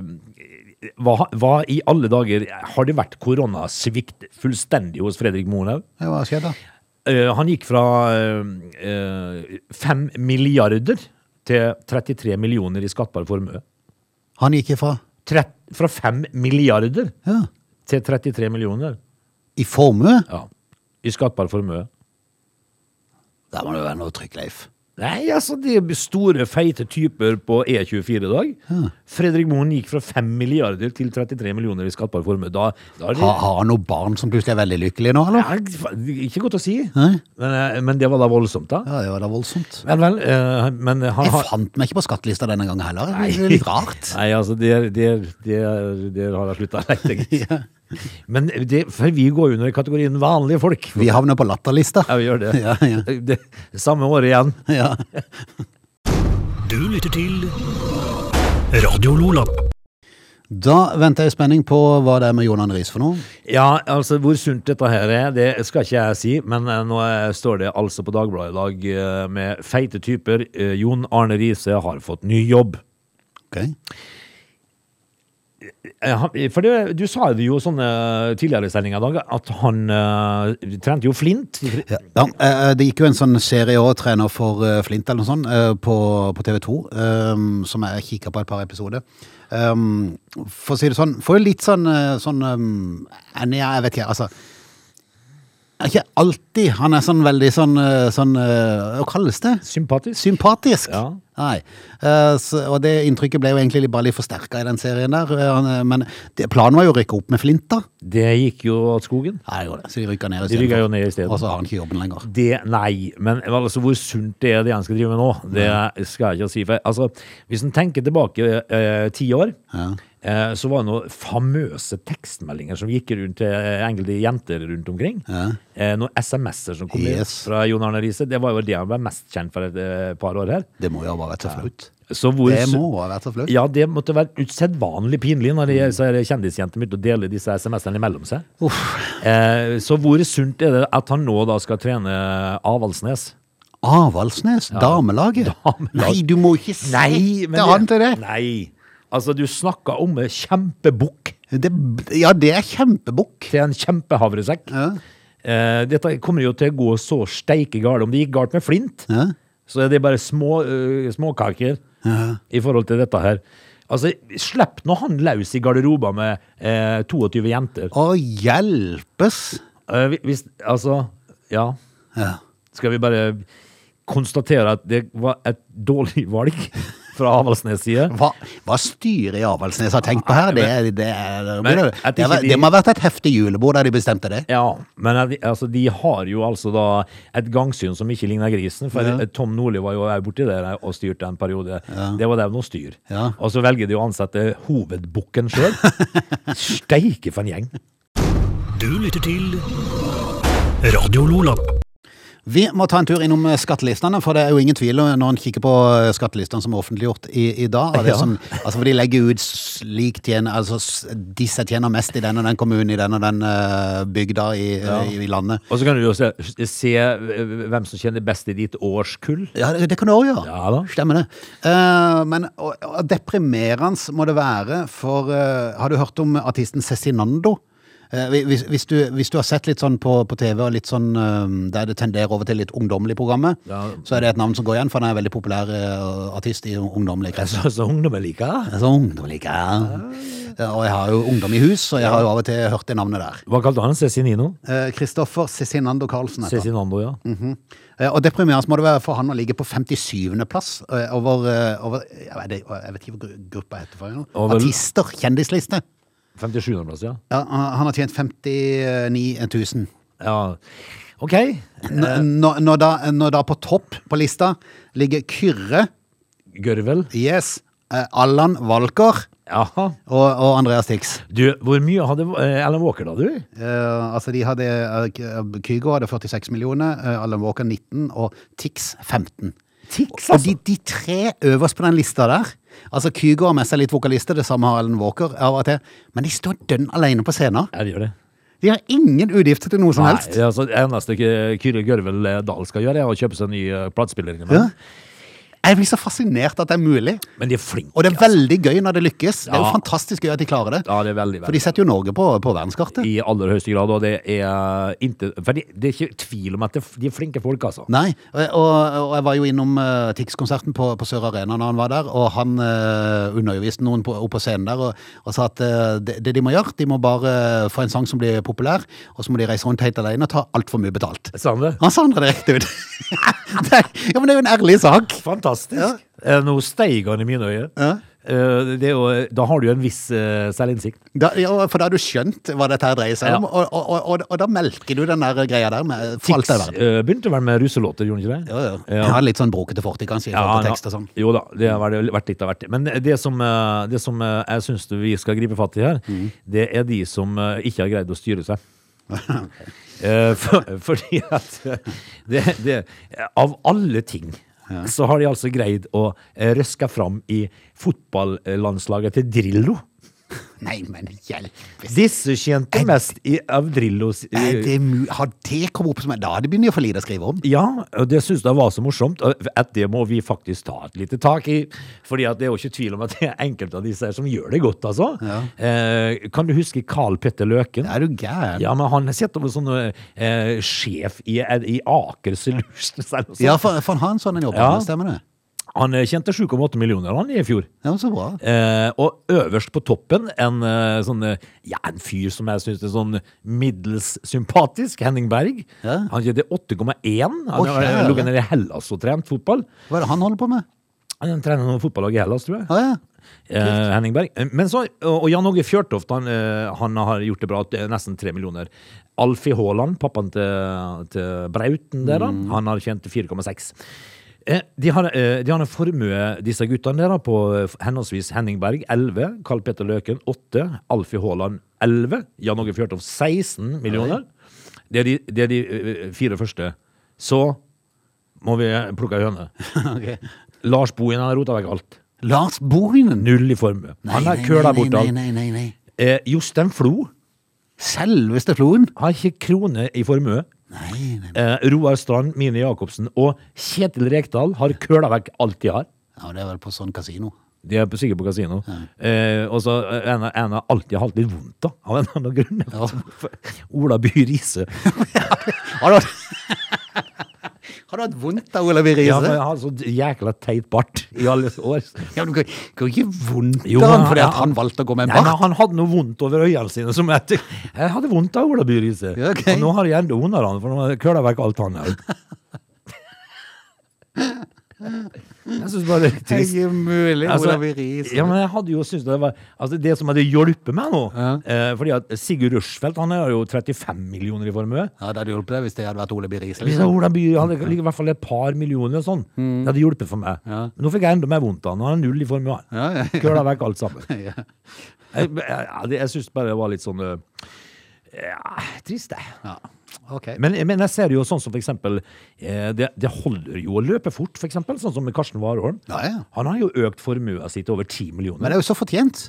Speaker 3: hva, hva i alle dager Har det vært koronasvikt fullstendig hos Fredrik Moen òg?
Speaker 1: Ja, Hva skjedde da?
Speaker 3: Eh, han gikk fra eh, eh, 5 milliarder til 33 millioner i skattbar formue.
Speaker 1: Han gikk ifra
Speaker 3: Trett, fra 5 milliarder
Speaker 1: ja.
Speaker 3: til 33 millioner
Speaker 1: I formue?
Speaker 3: ja. i skattbar formue.
Speaker 1: Der må det være noe trykk, Leif.
Speaker 3: Nei, altså, det er store, feite typer på E24 i dag. Fredrik Moen gikk fra 5 milliarder til 33 millioner i skattbar formue. Da, da er det
Speaker 1: Ha- Har han noen barn som plutselig er veldig lykkelige nå, eller?
Speaker 3: ja, Ikke godt å si,
Speaker 1: Nei.
Speaker 3: men, eh, men det var da voldsomt, da.
Speaker 1: Ja, det var da voldsomt.
Speaker 3: Vel, vel, eh, men han
Speaker 1: Jeg
Speaker 3: har
Speaker 1: fant meg ikke på skattelista denne gangen heller. Det er litt rart.
Speaker 3: Nei, altså, der, der, der, der har jeg slutta å lete, gitt. Men det, for vi går jo under kategorien vanlige folk.
Speaker 1: Vi havner på latterlista.
Speaker 3: Ja, vi gjør det.
Speaker 1: Ja, ja.
Speaker 3: det samme året igjen.
Speaker 1: Ja.
Speaker 2: Du lytter til Radio Lola.
Speaker 1: Da venter jeg i spenning på hva det er med Jonan Riis for noe.
Speaker 3: Ja, altså hvor sunt dette her er, det skal ikke jeg si, men eh, nå eh, står det altså på Dagbladet i dag eh, med feite typer. eh, Jon Arne Riise har fått ny jobb.
Speaker 1: Ok.
Speaker 3: Eh, han- For det, du sa det jo sånne tidligere i sendinga i dag, at han eh, trente jo flint.
Speaker 1: Ja, ja, eh, det gikk jo en sånn serie òg, trener for eh, Flint eller noe sånt, eh, på, på TV 2, som jeg kikka på et par episoder. Um, for å si det sånn, får jo litt sånn, eh, sånn um, nei, Jeg vet ikke, altså. er Ikke alltid. Han er sånn veldig sånn, eh, sånn eh, Hva kalles det?
Speaker 3: Sympatisk.
Speaker 1: Sympatisk.
Speaker 3: Ja.
Speaker 1: Nei. Eh, så, og det inntrykket ble jo egentlig bare litt forsterka i den serien der. eh, han, eh, Men det, planen var jo å rykke opp med Flint, da.
Speaker 3: Det gikk jo av skogen.
Speaker 1: Nei, det gjorde det. Så de rykka ned
Speaker 3: De
Speaker 1: istedenfor.
Speaker 3: rykket jo ned i stedet.
Speaker 1: Og så har han ikke jobben lenger.
Speaker 3: Det, nei, men altså hvor sunt det er det han skal drive med nå, det skal jeg ikke si. For, altså, hvis en tenker tilbake eh, ti år, eh, så var det noen famøse tekstmeldinger som gikk rundt til eh, enkelte jenter rundt omkring. Eh, noen SMS-er som kom inn
Speaker 1: Yes.
Speaker 3: fra Jon Arne Riise. Det var jo det han ble mest kjent for et eh, par år her.
Speaker 1: Det må jo ha vært så flaut.
Speaker 3: Så hvor
Speaker 1: Det
Speaker 3: su-
Speaker 1: må ha vært så flaut.
Speaker 3: Ja, det måtte være usedvanlig pinlig når de, så er det kjendisjenter begynte å dele disse SMS-ene imellom seg. Eh, så hvor sunt er det at han nå da skal trene Avaldsnes?
Speaker 1: Avaldsnes, damelaget.
Speaker 3: Damelag.
Speaker 1: Nei, du må ikke
Speaker 3: Nei,
Speaker 1: sette han til det.
Speaker 3: Nei. Altså, du snakka om en kjempebukk
Speaker 1: det. Ja, det er kjempebukk.
Speaker 3: til en kjempehavresekk. Eh, dette kommer jo til å gå så steike galt. Om det gikk galt med flint,
Speaker 1: Ja.
Speaker 3: så er det bare små, eh, småkaker i forhold til dette her. Altså, slipp nå han løs i garderoba med eh, 22 jenter.
Speaker 1: Å hjelpes.
Speaker 3: Eh, hvi- hvis, altså, ja.
Speaker 1: Ja.
Speaker 3: Skal vi bare konstatere at det var et dårlig valg fra Avaldsnes' side?
Speaker 1: Hva, hva styret i Avaldsnes har tenkt på her, det, er- det, er- det,
Speaker 3: Men
Speaker 1: blir-
Speaker 3: at
Speaker 1: det,
Speaker 3: ikke
Speaker 1: er-
Speaker 3: de-
Speaker 1: det må ha vært et heftig julebord der de bestemte det.
Speaker 3: Ja, men at de- altså, de har jo altså da et gangsyn som ikke ligner grisen. For
Speaker 1: Ja.
Speaker 3: Tom Nordli var jo borti der og styrte en periode. Det var det noe styr.
Speaker 1: Ja.
Speaker 3: Og så velger de å ansette hovedbukken sjøl. Steike for en gjeng.
Speaker 2: Du lytter til Radio Lola.
Speaker 1: Vi må ta en tur innom eh, skattelistene, for det er jo ingen tvil om- når en kikker på eh, skattelistene som er offentliggjort i, i dag. Er det
Speaker 3: Ja.
Speaker 1: sånn, altså for de legger ut slik tjener, altså s- de som tjener mest i den og den kommunen, i den og den eh, bygda i, i, i landet.
Speaker 3: Og så kan du jo se, se eh, hvem som tjener best i ditt årskull.
Speaker 1: Ja, det, det kan du òg gjøre.
Speaker 3: Ja da.
Speaker 1: Stemmer det. Eh, men og, og deprimerende må det være, for eh, Har du hørt om artisten Cezinando? Eh, Hvis, hvis, du, hvis du har sett litt sånn på, på TV, og litt sånn eh, der det tenderer over til litt ungdommelig programmet,
Speaker 3: Ja.
Speaker 1: så er det et navn som går igjen, for han er en veldig populær eh, artist i ungdommelige kretser.
Speaker 3: Så, så ungdommen liker det.
Speaker 1: Det er så ungdommelig, ja. Eh, Og jeg har jo ungdom i hus, og jeg har jo av og til hørt det navnet der.
Speaker 3: Hva kalte han Cezinino?
Speaker 1: Eh, Kristoffer Cezinando Karlsen. heter han.
Speaker 3: Cezinando, ja.
Speaker 1: Eh, Og deprimerende må det være for han å ligge på 57. plass eh, over, eh, over jeg, vet, ikke- jeg vet ikke hva gru- gruppa heter for noe.
Speaker 3: Over-
Speaker 1: Artister, kjendisliste.
Speaker 3: 57.-plass, ja.
Speaker 1: Ja, han han har tjent 59 000.
Speaker 3: ja. OK.
Speaker 1: N- Når, når, da, når da på topp på lista ligger Kyrre,
Speaker 3: Gørvel.
Speaker 1: yes, eh, Allan Walker
Speaker 3: Ja.
Speaker 1: og, og Andreas Tix.
Speaker 3: Du, hvor mye hadde eh, Alan Walker, da, du?
Speaker 1: Eh, altså de hadde, eh, K- Kygo hadde 46 millioner, eh, Allan Walker 19 og Tix 15.
Speaker 3: Tix, altså?
Speaker 1: Og de, de tre øverst på den lista der Altså Kygo har med seg litt vokalister, det samme har Ellen Walker av og til. Men de står dønn alene på scenen.
Speaker 3: Ja, de gjør det.
Speaker 1: De har ingen utgifter til noe som helst.
Speaker 3: Nei, altså, det eneste Ky- Kyrre Gørvel eh, Dahl skal gjøre, er å kjøpe seg en ny eh, platespiller.
Speaker 1: Ja.
Speaker 3: innimellom.
Speaker 1: Jeg blir så fascinert at det er mulig.
Speaker 3: Men de er flinke.
Speaker 1: Og det er veldig gøy når det lykkes. Det er jo
Speaker 3: altså. Ja.
Speaker 1: fantastisk gøy at de klarer det.
Speaker 3: altså. Ja, det er veldig,
Speaker 1: For de
Speaker 3: veldig.
Speaker 1: setter jo Norge på, på verdenskartet.
Speaker 3: I aller høyeste grad. Og det er eh, inte, For det, det er ikke tvil om at det, de er flinke folk, altså.
Speaker 1: Nei, og, og, og jeg var jo innom uh, Tix-konserten på, på Sør Arena når han var der, og han eh, underviste noen på, opp på scenen der og, og sa at eh, det, det de må gjøre, de må bare få en sang som blir populær, og så må de reise rundt helt alene og ta altfor mye betalt.
Speaker 3: Sa han det?
Speaker 1: Han sa det direkte ut. det, er- ja, men det er jo en ærlig sak.
Speaker 3: Fantastisk. Eh, Nå steig han i mine øyne. Eh, Det er jo, da har du jo en viss eh, selvinnsikt.
Speaker 1: Da, ja, for da har du skjønt hva dette her dreier seg om,
Speaker 3: Ja.
Speaker 1: og, og, og, og, og da melker du den der greia der med for alt
Speaker 3: Tix
Speaker 1: det er verdt.
Speaker 3: eh, begynte vel med russelåter, gjorde han ikke det?
Speaker 1: Ja, ja. Jeg har litt sånn brokete fortid, kanskje, i forhold
Speaker 3: han
Speaker 1: til
Speaker 3: har-
Speaker 1: tekst og sånn.
Speaker 3: Jo da, det har vært vært litt av hvert. Men det som, eh, det som eh, jeg syns vi skal gripe fatt i her,
Speaker 1: Mm.
Speaker 3: det er de som eh, ikke har greid å styre seg. Eh, for, fordi at eh, det, det, Av alle ting så har de altså greid å eh, røske fram i fotballandslaget til Drillo.
Speaker 1: Nei, men hjelp.
Speaker 3: Disse tjente mest i, av Drillos
Speaker 1: Nei, det er mu- har det kommet opp som Da hadde begynner jeg å få lite å skrive om.
Speaker 3: Ja, og det syns jeg var så morsomt. og At det må vi faktisk ta et lite tak i. Fordi at det er jo ikke tvil om at det er enkelte av disse her som gjør det godt, altså. Eh, kan du huske Carl Petter Løken?
Speaker 1: Er du gæren? Ja.
Speaker 3: Ja, men han sitter vel som eh, sjef i, i Aker Solutions eller noe sånt.
Speaker 1: for, for han har en sånn en jobb,
Speaker 3: Ja.
Speaker 1: ja. stemmer det?
Speaker 3: Han eh, tjente 7,8 millioner han i fjor.
Speaker 1: Ja, men så bra.
Speaker 3: Eh, og øverst på toppen en eh, sånn eh, Ja, en fyr som jeg syns er sånn middels sympatisk, Henning Berg.
Speaker 1: Ja.
Speaker 3: Han tjente 8,1. Han
Speaker 1: Å,
Speaker 3: har eh,
Speaker 1: kjære.
Speaker 3: ligget nede i Hellas og trent fotball.
Speaker 1: Hva er det han holder på med?
Speaker 3: Han trener noen fotballag i Hellas, tror jeg.
Speaker 1: Å ja.
Speaker 3: Eh, Henning Berg. Eh, Men så, og og Jan Åge Fjørtoft han, eh, han har gjort det bra. det er Nesten tre millioner. Alfie Haaland, pappaen til, til Brauten der, da, han har tjent 4,6. Eh, De har, eh, de har en formue, disse guttene der, da, på eh, henholdsvis Henning Berg 11, Karl Petter Løken 8, Alfie Haaland 11, Jan Åge Fjørtoft 16 millioner. Det er de, det er de eh, fire første. Så må vi plukke ei høne.
Speaker 1: Ok.
Speaker 3: Lars Bohin har rota vekk alt.
Speaker 1: Lars Bohinen.
Speaker 3: Null i formue. Han har køla bort
Speaker 1: nei,
Speaker 3: alt.
Speaker 1: nei, nei, nei.
Speaker 3: Eh, Jostein Flo
Speaker 1: Selveste floen.
Speaker 3: har ikke krone i formue.
Speaker 1: Nei, nei.
Speaker 3: Eh, Roar Strand, Mine Jacobsen og Kjetil Rekdal har køla vekk alt de har.
Speaker 1: Ja, det er vel på sånn kasino.
Speaker 3: De er på- sikkert på kasino. Eh, og så eh, en, av- en har alltid hatt litt vondt, da. Av en eller annen grunn. Ola By Riise.
Speaker 1: Har du hatt, har du hatt vondt av Olav
Speaker 3: Ja,
Speaker 1: Riise?
Speaker 3: men
Speaker 1: Ja,
Speaker 3: han har så jækla teit bart i alle år.
Speaker 1: men det går ikke vondt
Speaker 3: Jo,
Speaker 1: av han
Speaker 3: men
Speaker 1: fordi
Speaker 3: han-
Speaker 1: at han valgte å gå med en
Speaker 3: Nei, men
Speaker 1: bart.
Speaker 3: han hadde noe vondt over øynene sine. Som jeg, jeg hadde vondt av Ola By Riise.
Speaker 1: Ja, ok.
Speaker 3: Og nå har jeg enda vondere av han, for nå har jeg køla vekk alt han har. Jeg syns bare det er
Speaker 1: Det er
Speaker 3: trist.
Speaker 1: ikke mulig,
Speaker 3: Altså,
Speaker 1: Olav Riise.
Speaker 3: ja, men jeg hadde jo syntes det var Altså det som hadde hjulpet meg nå eh, Fordi at Sigurd Rushfeldt Han har jo 35 millioner i formue
Speaker 1: Ja, det hadde hjulpet deg hvis det hadde vært Olav liksom. Riise.
Speaker 3: Hvis jeg, Ola By hadde ligget i hvert fall et par millioner og sånn
Speaker 1: Mm.
Speaker 3: Det hadde hjulpet for meg Men Nå fikk jeg enda mer vondt av han Han har null i formue
Speaker 1: Ja, ja, ja.
Speaker 3: Køla vekk alt sammen Jeg,
Speaker 1: Ja.
Speaker 3: jeg, jeg, jeg synes bare det var litt sånn eh, ja, Trist det
Speaker 1: Ja. Ok.
Speaker 3: men, men jeg ser jo sånn som for eksempel eh, det, det holder jo å løpe fort for eksempel Sånn som med Karsten Warholm
Speaker 1: Ja, ja.
Speaker 3: Han har jo økt formuen sitt til over 10 millioner
Speaker 1: Men det er jo så fortjent.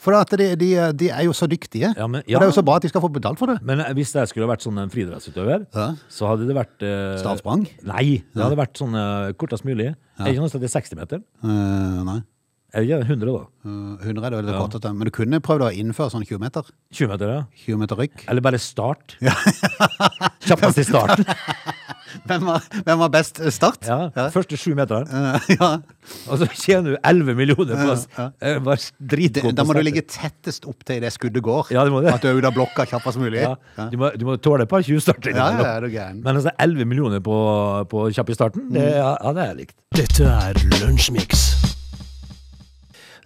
Speaker 1: For at de, de, de er jo så dyktige.
Speaker 3: Ja, men-
Speaker 1: Og det er jo så bra at de skal få betalt for det.
Speaker 3: Men eh, hvis jeg skulle vært sånn en friidrettsutøver,
Speaker 1: Ja.
Speaker 3: så hadde det vært eh,
Speaker 1: Stavsprang?
Speaker 3: Nei, det hadde vært sånn eh, kortest mulig. Er det ikke noe sted til 60 meter?
Speaker 1: Eh, nei.
Speaker 3: Er det ikke 100, da?
Speaker 1: Eh, 100 er det veldig kort. at- Men du kunne prøvd å innføre sånn 20 meter.
Speaker 3: 20 meter, ja.
Speaker 1: 20 meter rykk.
Speaker 3: Eller bare start. Kjappest i starten.
Speaker 1: Hvem var, hvem var best eh, start?
Speaker 3: Ja,
Speaker 1: Ja.
Speaker 3: Første sju meteren.
Speaker 1: Eh, ja.
Speaker 3: Og så tjener du 11 millioner på oss. Eh, Bare
Speaker 1: Det-
Speaker 3: dritgod
Speaker 1: Da må du
Speaker 3: på starten.
Speaker 1: ligge tettest opp til det skuddet går.
Speaker 3: Ja, det må du.
Speaker 1: At du er ute av blokka kjappest mulig.
Speaker 3: ja.
Speaker 1: Ja, ja,
Speaker 3: du, må, du må tåle et par 20 starter.
Speaker 1: ja,
Speaker 3: innimellom.
Speaker 1: er du gæren. Mm.
Speaker 3: Men altså 11 millioner på, på kjapp i starten, det, ja, ja, det er likt.
Speaker 2: Dette er Lunsjmix.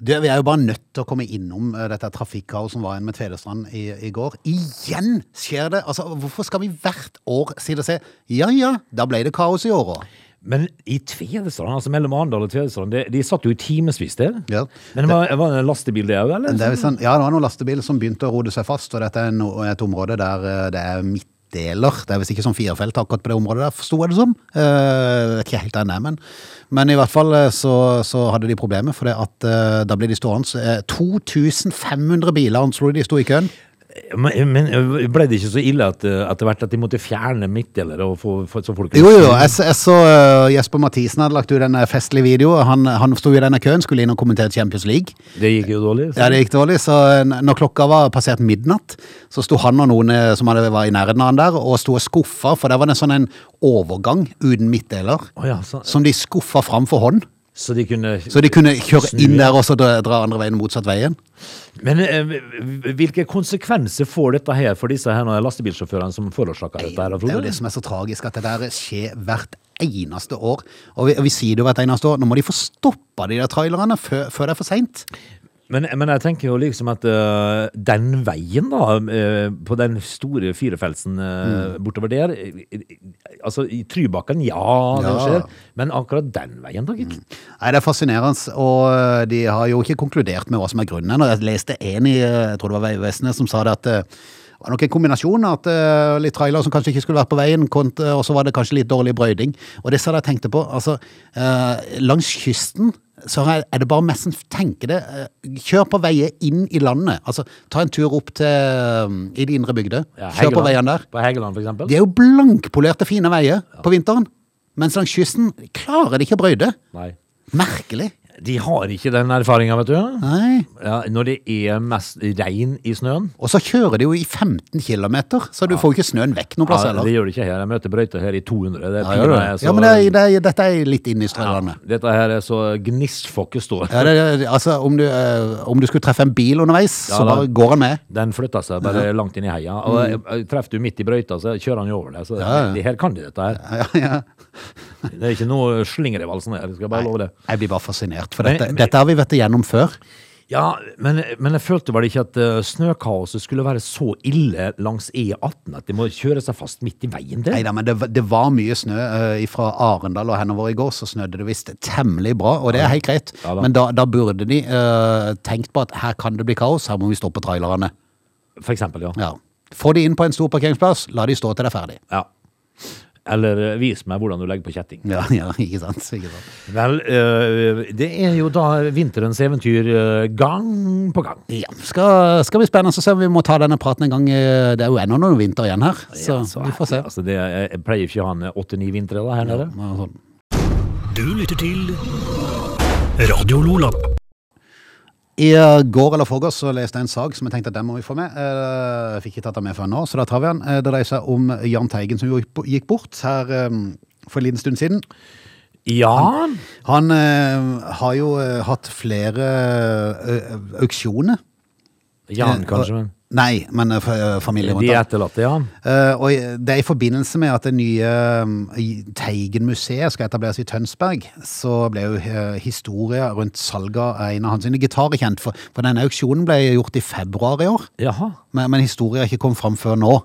Speaker 1: Du, vi er jo bare nødt til å komme innom eh, dette trafikkaoset som var igjen med Tvedestrand i, i går. Igjen skjer det! Altså, Hvorfor skal vi hvert år si det og se ja ja, da ble det kaos i år òg?
Speaker 3: Men i Tvedestrand, altså mellom Arendal og Tvedestrand, de, de satt jo i timevis der.
Speaker 1: Ja.
Speaker 3: Men det var, var det en lastebil det òg, eller?
Speaker 1: Det er jo sånn, ja, det var noen lastebiler som begynte å rode seg fast, og dette er no, et område der eh, det er midtdeler. Det er visst ikke sånn firefelt akkurat på det området der, forsto jeg det som. Eh, vet ikke helt hva det er, men. Men i hvert fall eh, så, så hadde de problemer, for det at eh, da ble de stående. så, eh, 2500 biler anslo de sto i køen.
Speaker 3: Men, men ble det ikke så ille at, eh, etter hvert at de måtte fjerne midtdelere og få, få så folk
Speaker 1: Jo, jo, jo. Jeg, s- jeg så øh, Jesper Mathisen hadde lagt ut en øh, festlig video. Han, han sto i denne køen, skulle inn og kommentere Champions League.
Speaker 3: Det gikk jo dårlig. så-
Speaker 1: Ja, det gikk dårlig, så øh, n- når klokka var passert midnatt, så sto han og noen øh, som hadde, var i nærheten av han der, og sto og skuffa, for der var det sånn en overgang uten midtdeler,
Speaker 3: Å ja, så,
Speaker 1: som de skuffa fram for hånd.
Speaker 3: så de kunne
Speaker 1: Så de kunne kjøre inn der og så dra, dra andre veien motsatt veien.
Speaker 3: Men eh, hvilke konsekvenser får dette her for disse her nå, eh, lastebilsjåførene som forårsaker dette? her,
Speaker 1: Det er jo
Speaker 3: Frode?
Speaker 1: det som er så tragisk, at det der skjer hvert eneste år. Og vi, og vi sier det jo hvert eneste år, nå må de få stoppa de der trailerne før, før det er for seint.
Speaker 3: Men, men jeg tenker jo liksom at øh, den veien da, øh, på den store firefeltsen øh,
Speaker 1: Mm.
Speaker 3: bortover der, øh, øh, altså i Trybakken, ja, det
Speaker 1: Ja. Mm.
Speaker 3: skjer, men akkurat den veien da, gitt.
Speaker 1: Nei, Det er fascinerende, og eh, de har jo ikke konkludert med hva som er grunnen. ennå. Jeg leste en i eh, jeg tror det var Vegvesenet som sa det at eh, det var nok en kombinasjon av at eh, litt trailer som kanskje ikke skulle vært på veien, kont- og så var det kanskje litt dårlig brøyding. Og det sa jeg tenkte på. altså, eh, Langs kysten så er er det bare mest en tenke det. eh, Kjør på veier inn i landet. altså Ta en tur opp til eh, i de indre bygder.
Speaker 3: Ja,
Speaker 1: Kjør på
Speaker 3: Helgeland.
Speaker 1: veiene der.
Speaker 3: På Hegeland for eksempel.
Speaker 1: De er jo blankpolerte, fine veier på vinteren. Mens langs kysten klarer de ikke å brøyde.
Speaker 3: Nei.
Speaker 1: Merkelig.
Speaker 3: De har ikke den erfaringen, vet du.
Speaker 1: Nei.
Speaker 3: Ja, når det er mest regn i snøen.
Speaker 1: Og så kjører de jo i 15 km, så du får jo ikke snøen vekk noen plass
Speaker 3: Ja, det
Speaker 1: heller.
Speaker 3: gjør det ikke her. Jeg møter brøyter her i 200. Det er
Speaker 1: Ja, gjør du det?
Speaker 3: pinlig, så-
Speaker 1: ja, men det, er- det, er- dette er litt inne i strømmene.
Speaker 3: Dette her er så gnistfokket står.
Speaker 1: Ja, det er- altså, om du, eh, om du skulle treffe en bil underveis,
Speaker 3: Ja,
Speaker 1: så
Speaker 3: da-
Speaker 1: bare går han med.
Speaker 3: Den flytta seg bare langt inn i heia. Og eh, treffer du midt i brøyta, så kjører han jo over deg. Så
Speaker 1: Ja, ja.
Speaker 3: de her kan de dette her.
Speaker 1: Ja, ja.
Speaker 3: Det er ikke noe slinger i valsen her. Skal jeg bare love det.
Speaker 1: Jeg blir bare fascinert, for
Speaker 3: Men-
Speaker 1: dette, dette har vi vært igjennom før.
Speaker 3: Ja, men, men jeg følte vel ikke at eh, snøkaoset skulle være så ille langs E18 at de må kjøre seg fast midt i veien der.
Speaker 1: Neida, men det, var- det var mye snø fra Arendal og henover i går, så snødde det visst temmelig bra, og det er helt greit.
Speaker 3: Ja da.
Speaker 1: Men da, da burde de eh, tenkt på at her kan det bli kaos, her må vi stoppe trailerne.
Speaker 3: For eksempel, ja.
Speaker 1: Ja. Få de inn på en stor parkeringsplass, la de stå til det er ferdig.
Speaker 3: ja. Eller eh, vis meg hvordan du legger på kjetting.
Speaker 1: Ja, ja, ikke sant. Ikke sant.
Speaker 3: Vel, eh, det er jo da vinterens eventyr eh, gang på gang.
Speaker 1: Ja, skal, skal bli spennende å se om vi må ta denne praten en gang. eh, Det er jo ennå noen vinter igjen her, så,
Speaker 3: Ja, så
Speaker 1: vi får se.
Speaker 3: herlig. Altså, det, jeg jeg pleier ikke å ha en åtte-ni vintre da, her nede.
Speaker 1: Ja, sånn.
Speaker 2: Du lytter til Radio Lola.
Speaker 1: I eh, går eller forgårs så leste jeg en sak som jeg tenkte at den må vi få med. Eh, Jeg fikk ikke tatt den med før nå, så da tar vi den. Eh, Det dreier seg om Jahn Teigen som jo gikk bort her eh, for en liten stund siden.
Speaker 3: Ja,
Speaker 1: Han eh, har jo eh, hatt flere eh, auksjoner.
Speaker 3: Jan
Speaker 1: Eh,
Speaker 3: kanskje,
Speaker 1: og-
Speaker 3: men
Speaker 1: Nei, men eh, fa- eh, familie rundt
Speaker 3: de
Speaker 1: han.
Speaker 3: etterlatte, ja.
Speaker 1: Eh, og i- det er i forbindelse med at det nye um, i- Teigen-museet skal etableres i Tønsberg, så ble jo eh, historia rundt salget av en av hans sine gitarer kjent. For, for denne auksjonen ble gjort i februar i år,
Speaker 3: Jaha.
Speaker 1: men, men historia har ikke kommet fram før nå.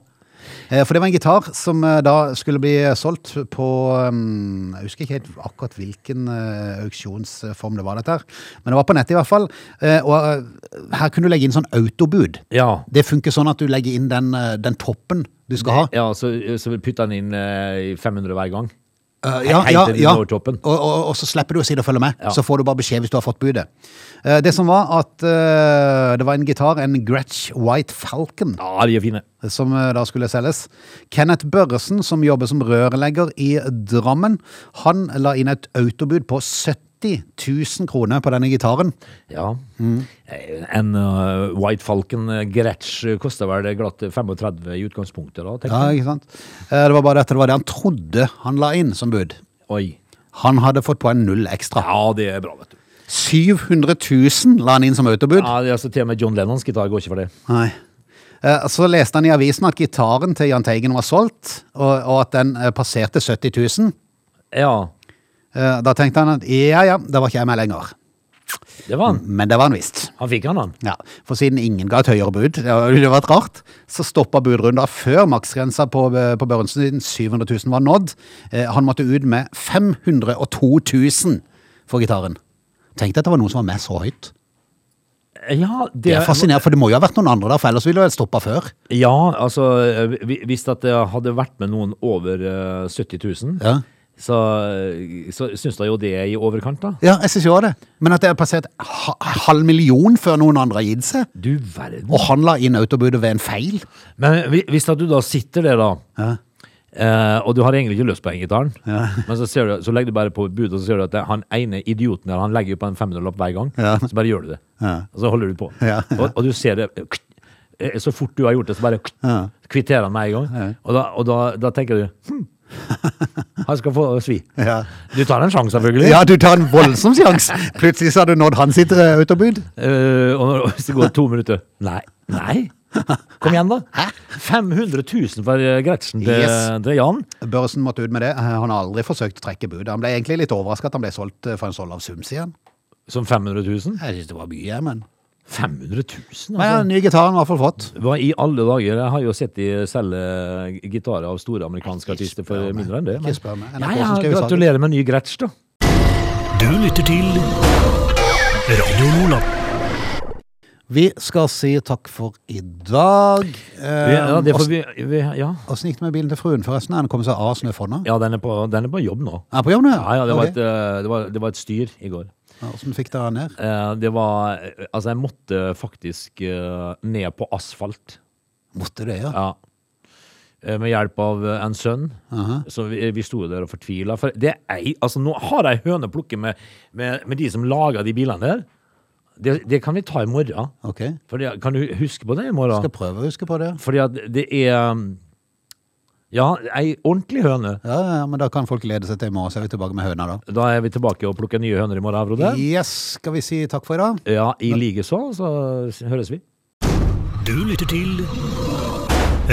Speaker 1: Eh, For det var en gitar som eh, da skulle bli solgt på um, Jeg husker ikke helt akkurat hvilken eh, auksjonsform det var, dette her. Men det var på nettet i hvert fall. Eh, Og eh, her kunne du legge inn sånn autobud.
Speaker 3: Ja.
Speaker 1: Det funker sånn at du legger inn den, eh, den toppen du skal ha.
Speaker 3: Ja, så, så pytter han inn eh, i 500 hver gang.
Speaker 1: Eh, ja,
Speaker 3: Hei,
Speaker 1: ja,
Speaker 3: til den
Speaker 1: ja.
Speaker 3: over toppen.
Speaker 1: Og, og, og så slipper du å si det og følge med.
Speaker 3: Ja.
Speaker 1: Så får du bare beskjed hvis du har fått budet. Eh, det som var at eh, det var en gitar, en Gretsch White Falcon,
Speaker 3: Ja, de er fine.
Speaker 1: som eh, da skulle selges. Kenneth Børresen, som jobber som rørlegger i Drammen, han la inn et autobud på 70 50 000 kroner på denne gitaren.
Speaker 3: Ja.
Speaker 1: Mm.
Speaker 3: En eh, White Falcon eh, Gretsch eh, koster vel glatt 35 i utgangspunktet, da? tenker
Speaker 1: Ja,
Speaker 3: jeg.
Speaker 1: ikke sant? Eh, Det var bare dette, det var det han trodde han la inn som bud.
Speaker 3: Oi.
Speaker 1: Han hadde fått på en null ekstra.
Speaker 3: Ja, det er bra, vet du.
Speaker 1: 700 000 la han inn som autobud.
Speaker 3: Ja, det er altså Til og med John Lennons gitar går ikke for det.
Speaker 1: Nei. Eh, Så leste han i avisen at gitaren til Jahn Teigen var solgt, og, og at den eh, passerte 70 000.
Speaker 3: Ja,
Speaker 1: Eh, Da tenkte han at ja, ja, da var ikke jeg med lenger.
Speaker 3: det var han.
Speaker 1: Men det var han visst.
Speaker 3: Han fikk han, han.
Speaker 1: Ja, For siden ingen ga et høyere bud, det har jo vært rart, så stoppa budrunden før maksgrensa på, eh, på Børrensen siden 700 000 var nådd. Eh, Han måtte ut med 502 000 for gitaren. Tenk deg at det var noen som var med så høyt.
Speaker 3: Ja, det,
Speaker 1: Det er fascinerende, for det må jo ha vært noen andre der, for ellers ville det stoppa før.
Speaker 3: Ja, altså eh, vi- Hvis at det hadde vært med noen over eh, 70 000,
Speaker 1: Ja.
Speaker 3: så, eh, så syns jeg jo det er i overkant, da.
Speaker 1: Ja, jeg syns jo også det. Men at det har passert ha- halv million før noen andre har gitt seg,
Speaker 3: Du verden.
Speaker 1: og han la inn autobudet ved en feil
Speaker 3: Men hvi- hvis at du da sitter der, da, eh, og du har egentlig ikke lyst på den gitaren, men så, ser du, så legger du bare på budet, og så ser du at det, han ene idioten der, han legger jo på en 500-lapp hver gang,
Speaker 1: Ja.
Speaker 3: så bare gjør du det. Og så holder du på.
Speaker 1: Ja.
Speaker 3: Og, og du ser det eh, Så fort du har gjort det, så bare kvitterer han med en gang. Og, da, og da, da tenker du hm, Han skal få svi.
Speaker 1: Ja.
Speaker 3: Du tar en sjanse, selvfølgelig.
Speaker 1: Ja, du tar en voldsom sjanse! Plutselig så har du nådd hans sitt eh, autobud.
Speaker 3: Eh, og når- hvis det går to minutter Nei. Nei. Kom igjen, da. 500 000 for eh, Gretchen til,
Speaker 1: Yes.
Speaker 3: til Jan.
Speaker 1: Børsen måtte ut med det. Eh, Han har aldri forsøkt å trekke bud. Han ble egentlig litt overrasket at han ble solgt eh, for en så lav sum, sier han.
Speaker 3: Som 500 000?
Speaker 1: Jeg synes det var mye, men
Speaker 3: 500 000, altså?
Speaker 1: Men ja, ny gitar har han i hvert fall fått.
Speaker 3: Hva i alle dager? Jeg har jo sett de selge gitarer av store amerikanske
Speaker 1: Ikke
Speaker 3: artister
Speaker 1: spør
Speaker 3: for
Speaker 1: meg.
Speaker 3: mindre enn det.
Speaker 1: Ikke spør meg.
Speaker 3: ja,
Speaker 1: NRK
Speaker 3: ja,
Speaker 1: som skal i saken.
Speaker 3: gratulerer med ny Gretsch, da.
Speaker 2: Du lytter til Radio Lola.
Speaker 1: Vi skal si takk for i dag. Eh,
Speaker 3: Ja, det får
Speaker 1: hvordan-
Speaker 3: vi, vi, ja.
Speaker 1: Hvordan gikk det med bilen til fruen, forresten? Er Han kom seg av snøfonna?
Speaker 3: ja, den er, på, den er på jobb nå.
Speaker 1: Er han på jobb nå?
Speaker 3: Ja, ja, det var,
Speaker 1: Ok.
Speaker 3: et, eh, det var, det var et styr i går.
Speaker 1: Ja, Hvordan fikk dere han ned?
Speaker 3: Eh, Det var Altså, jeg måtte faktisk eh, ned på asfalt.
Speaker 1: Måtte det, ja.
Speaker 3: Ja. Eh, Med hjelp av eh, en sønn. Så vi, vi sto der og fortvila. For det er, ei- altså, nå har jeg høne å plukke med, med, med de som lager de bilene der. Det, det kan vi ta i morgen.
Speaker 1: Ok.
Speaker 3: For det, kan du huske på det i
Speaker 1: Skal
Speaker 3: morgen?
Speaker 1: prøve å huske på det.
Speaker 3: Fordi at det er um, Ja, ei ordentlig høne.
Speaker 1: Ja, ja, ja, men da kan folk lede seg til i morgen, så er vi tilbake med høna da.
Speaker 3: Da er vi tilbake og plukker nye høner i morgen, Frode.
Speaker 1: Yes, skal vi si takk for i dag?
Speaker 3: Ja, i likeså. Så høres vi.
Speaker 2: Du lytter til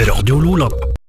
Speaker 2: Radio Lola.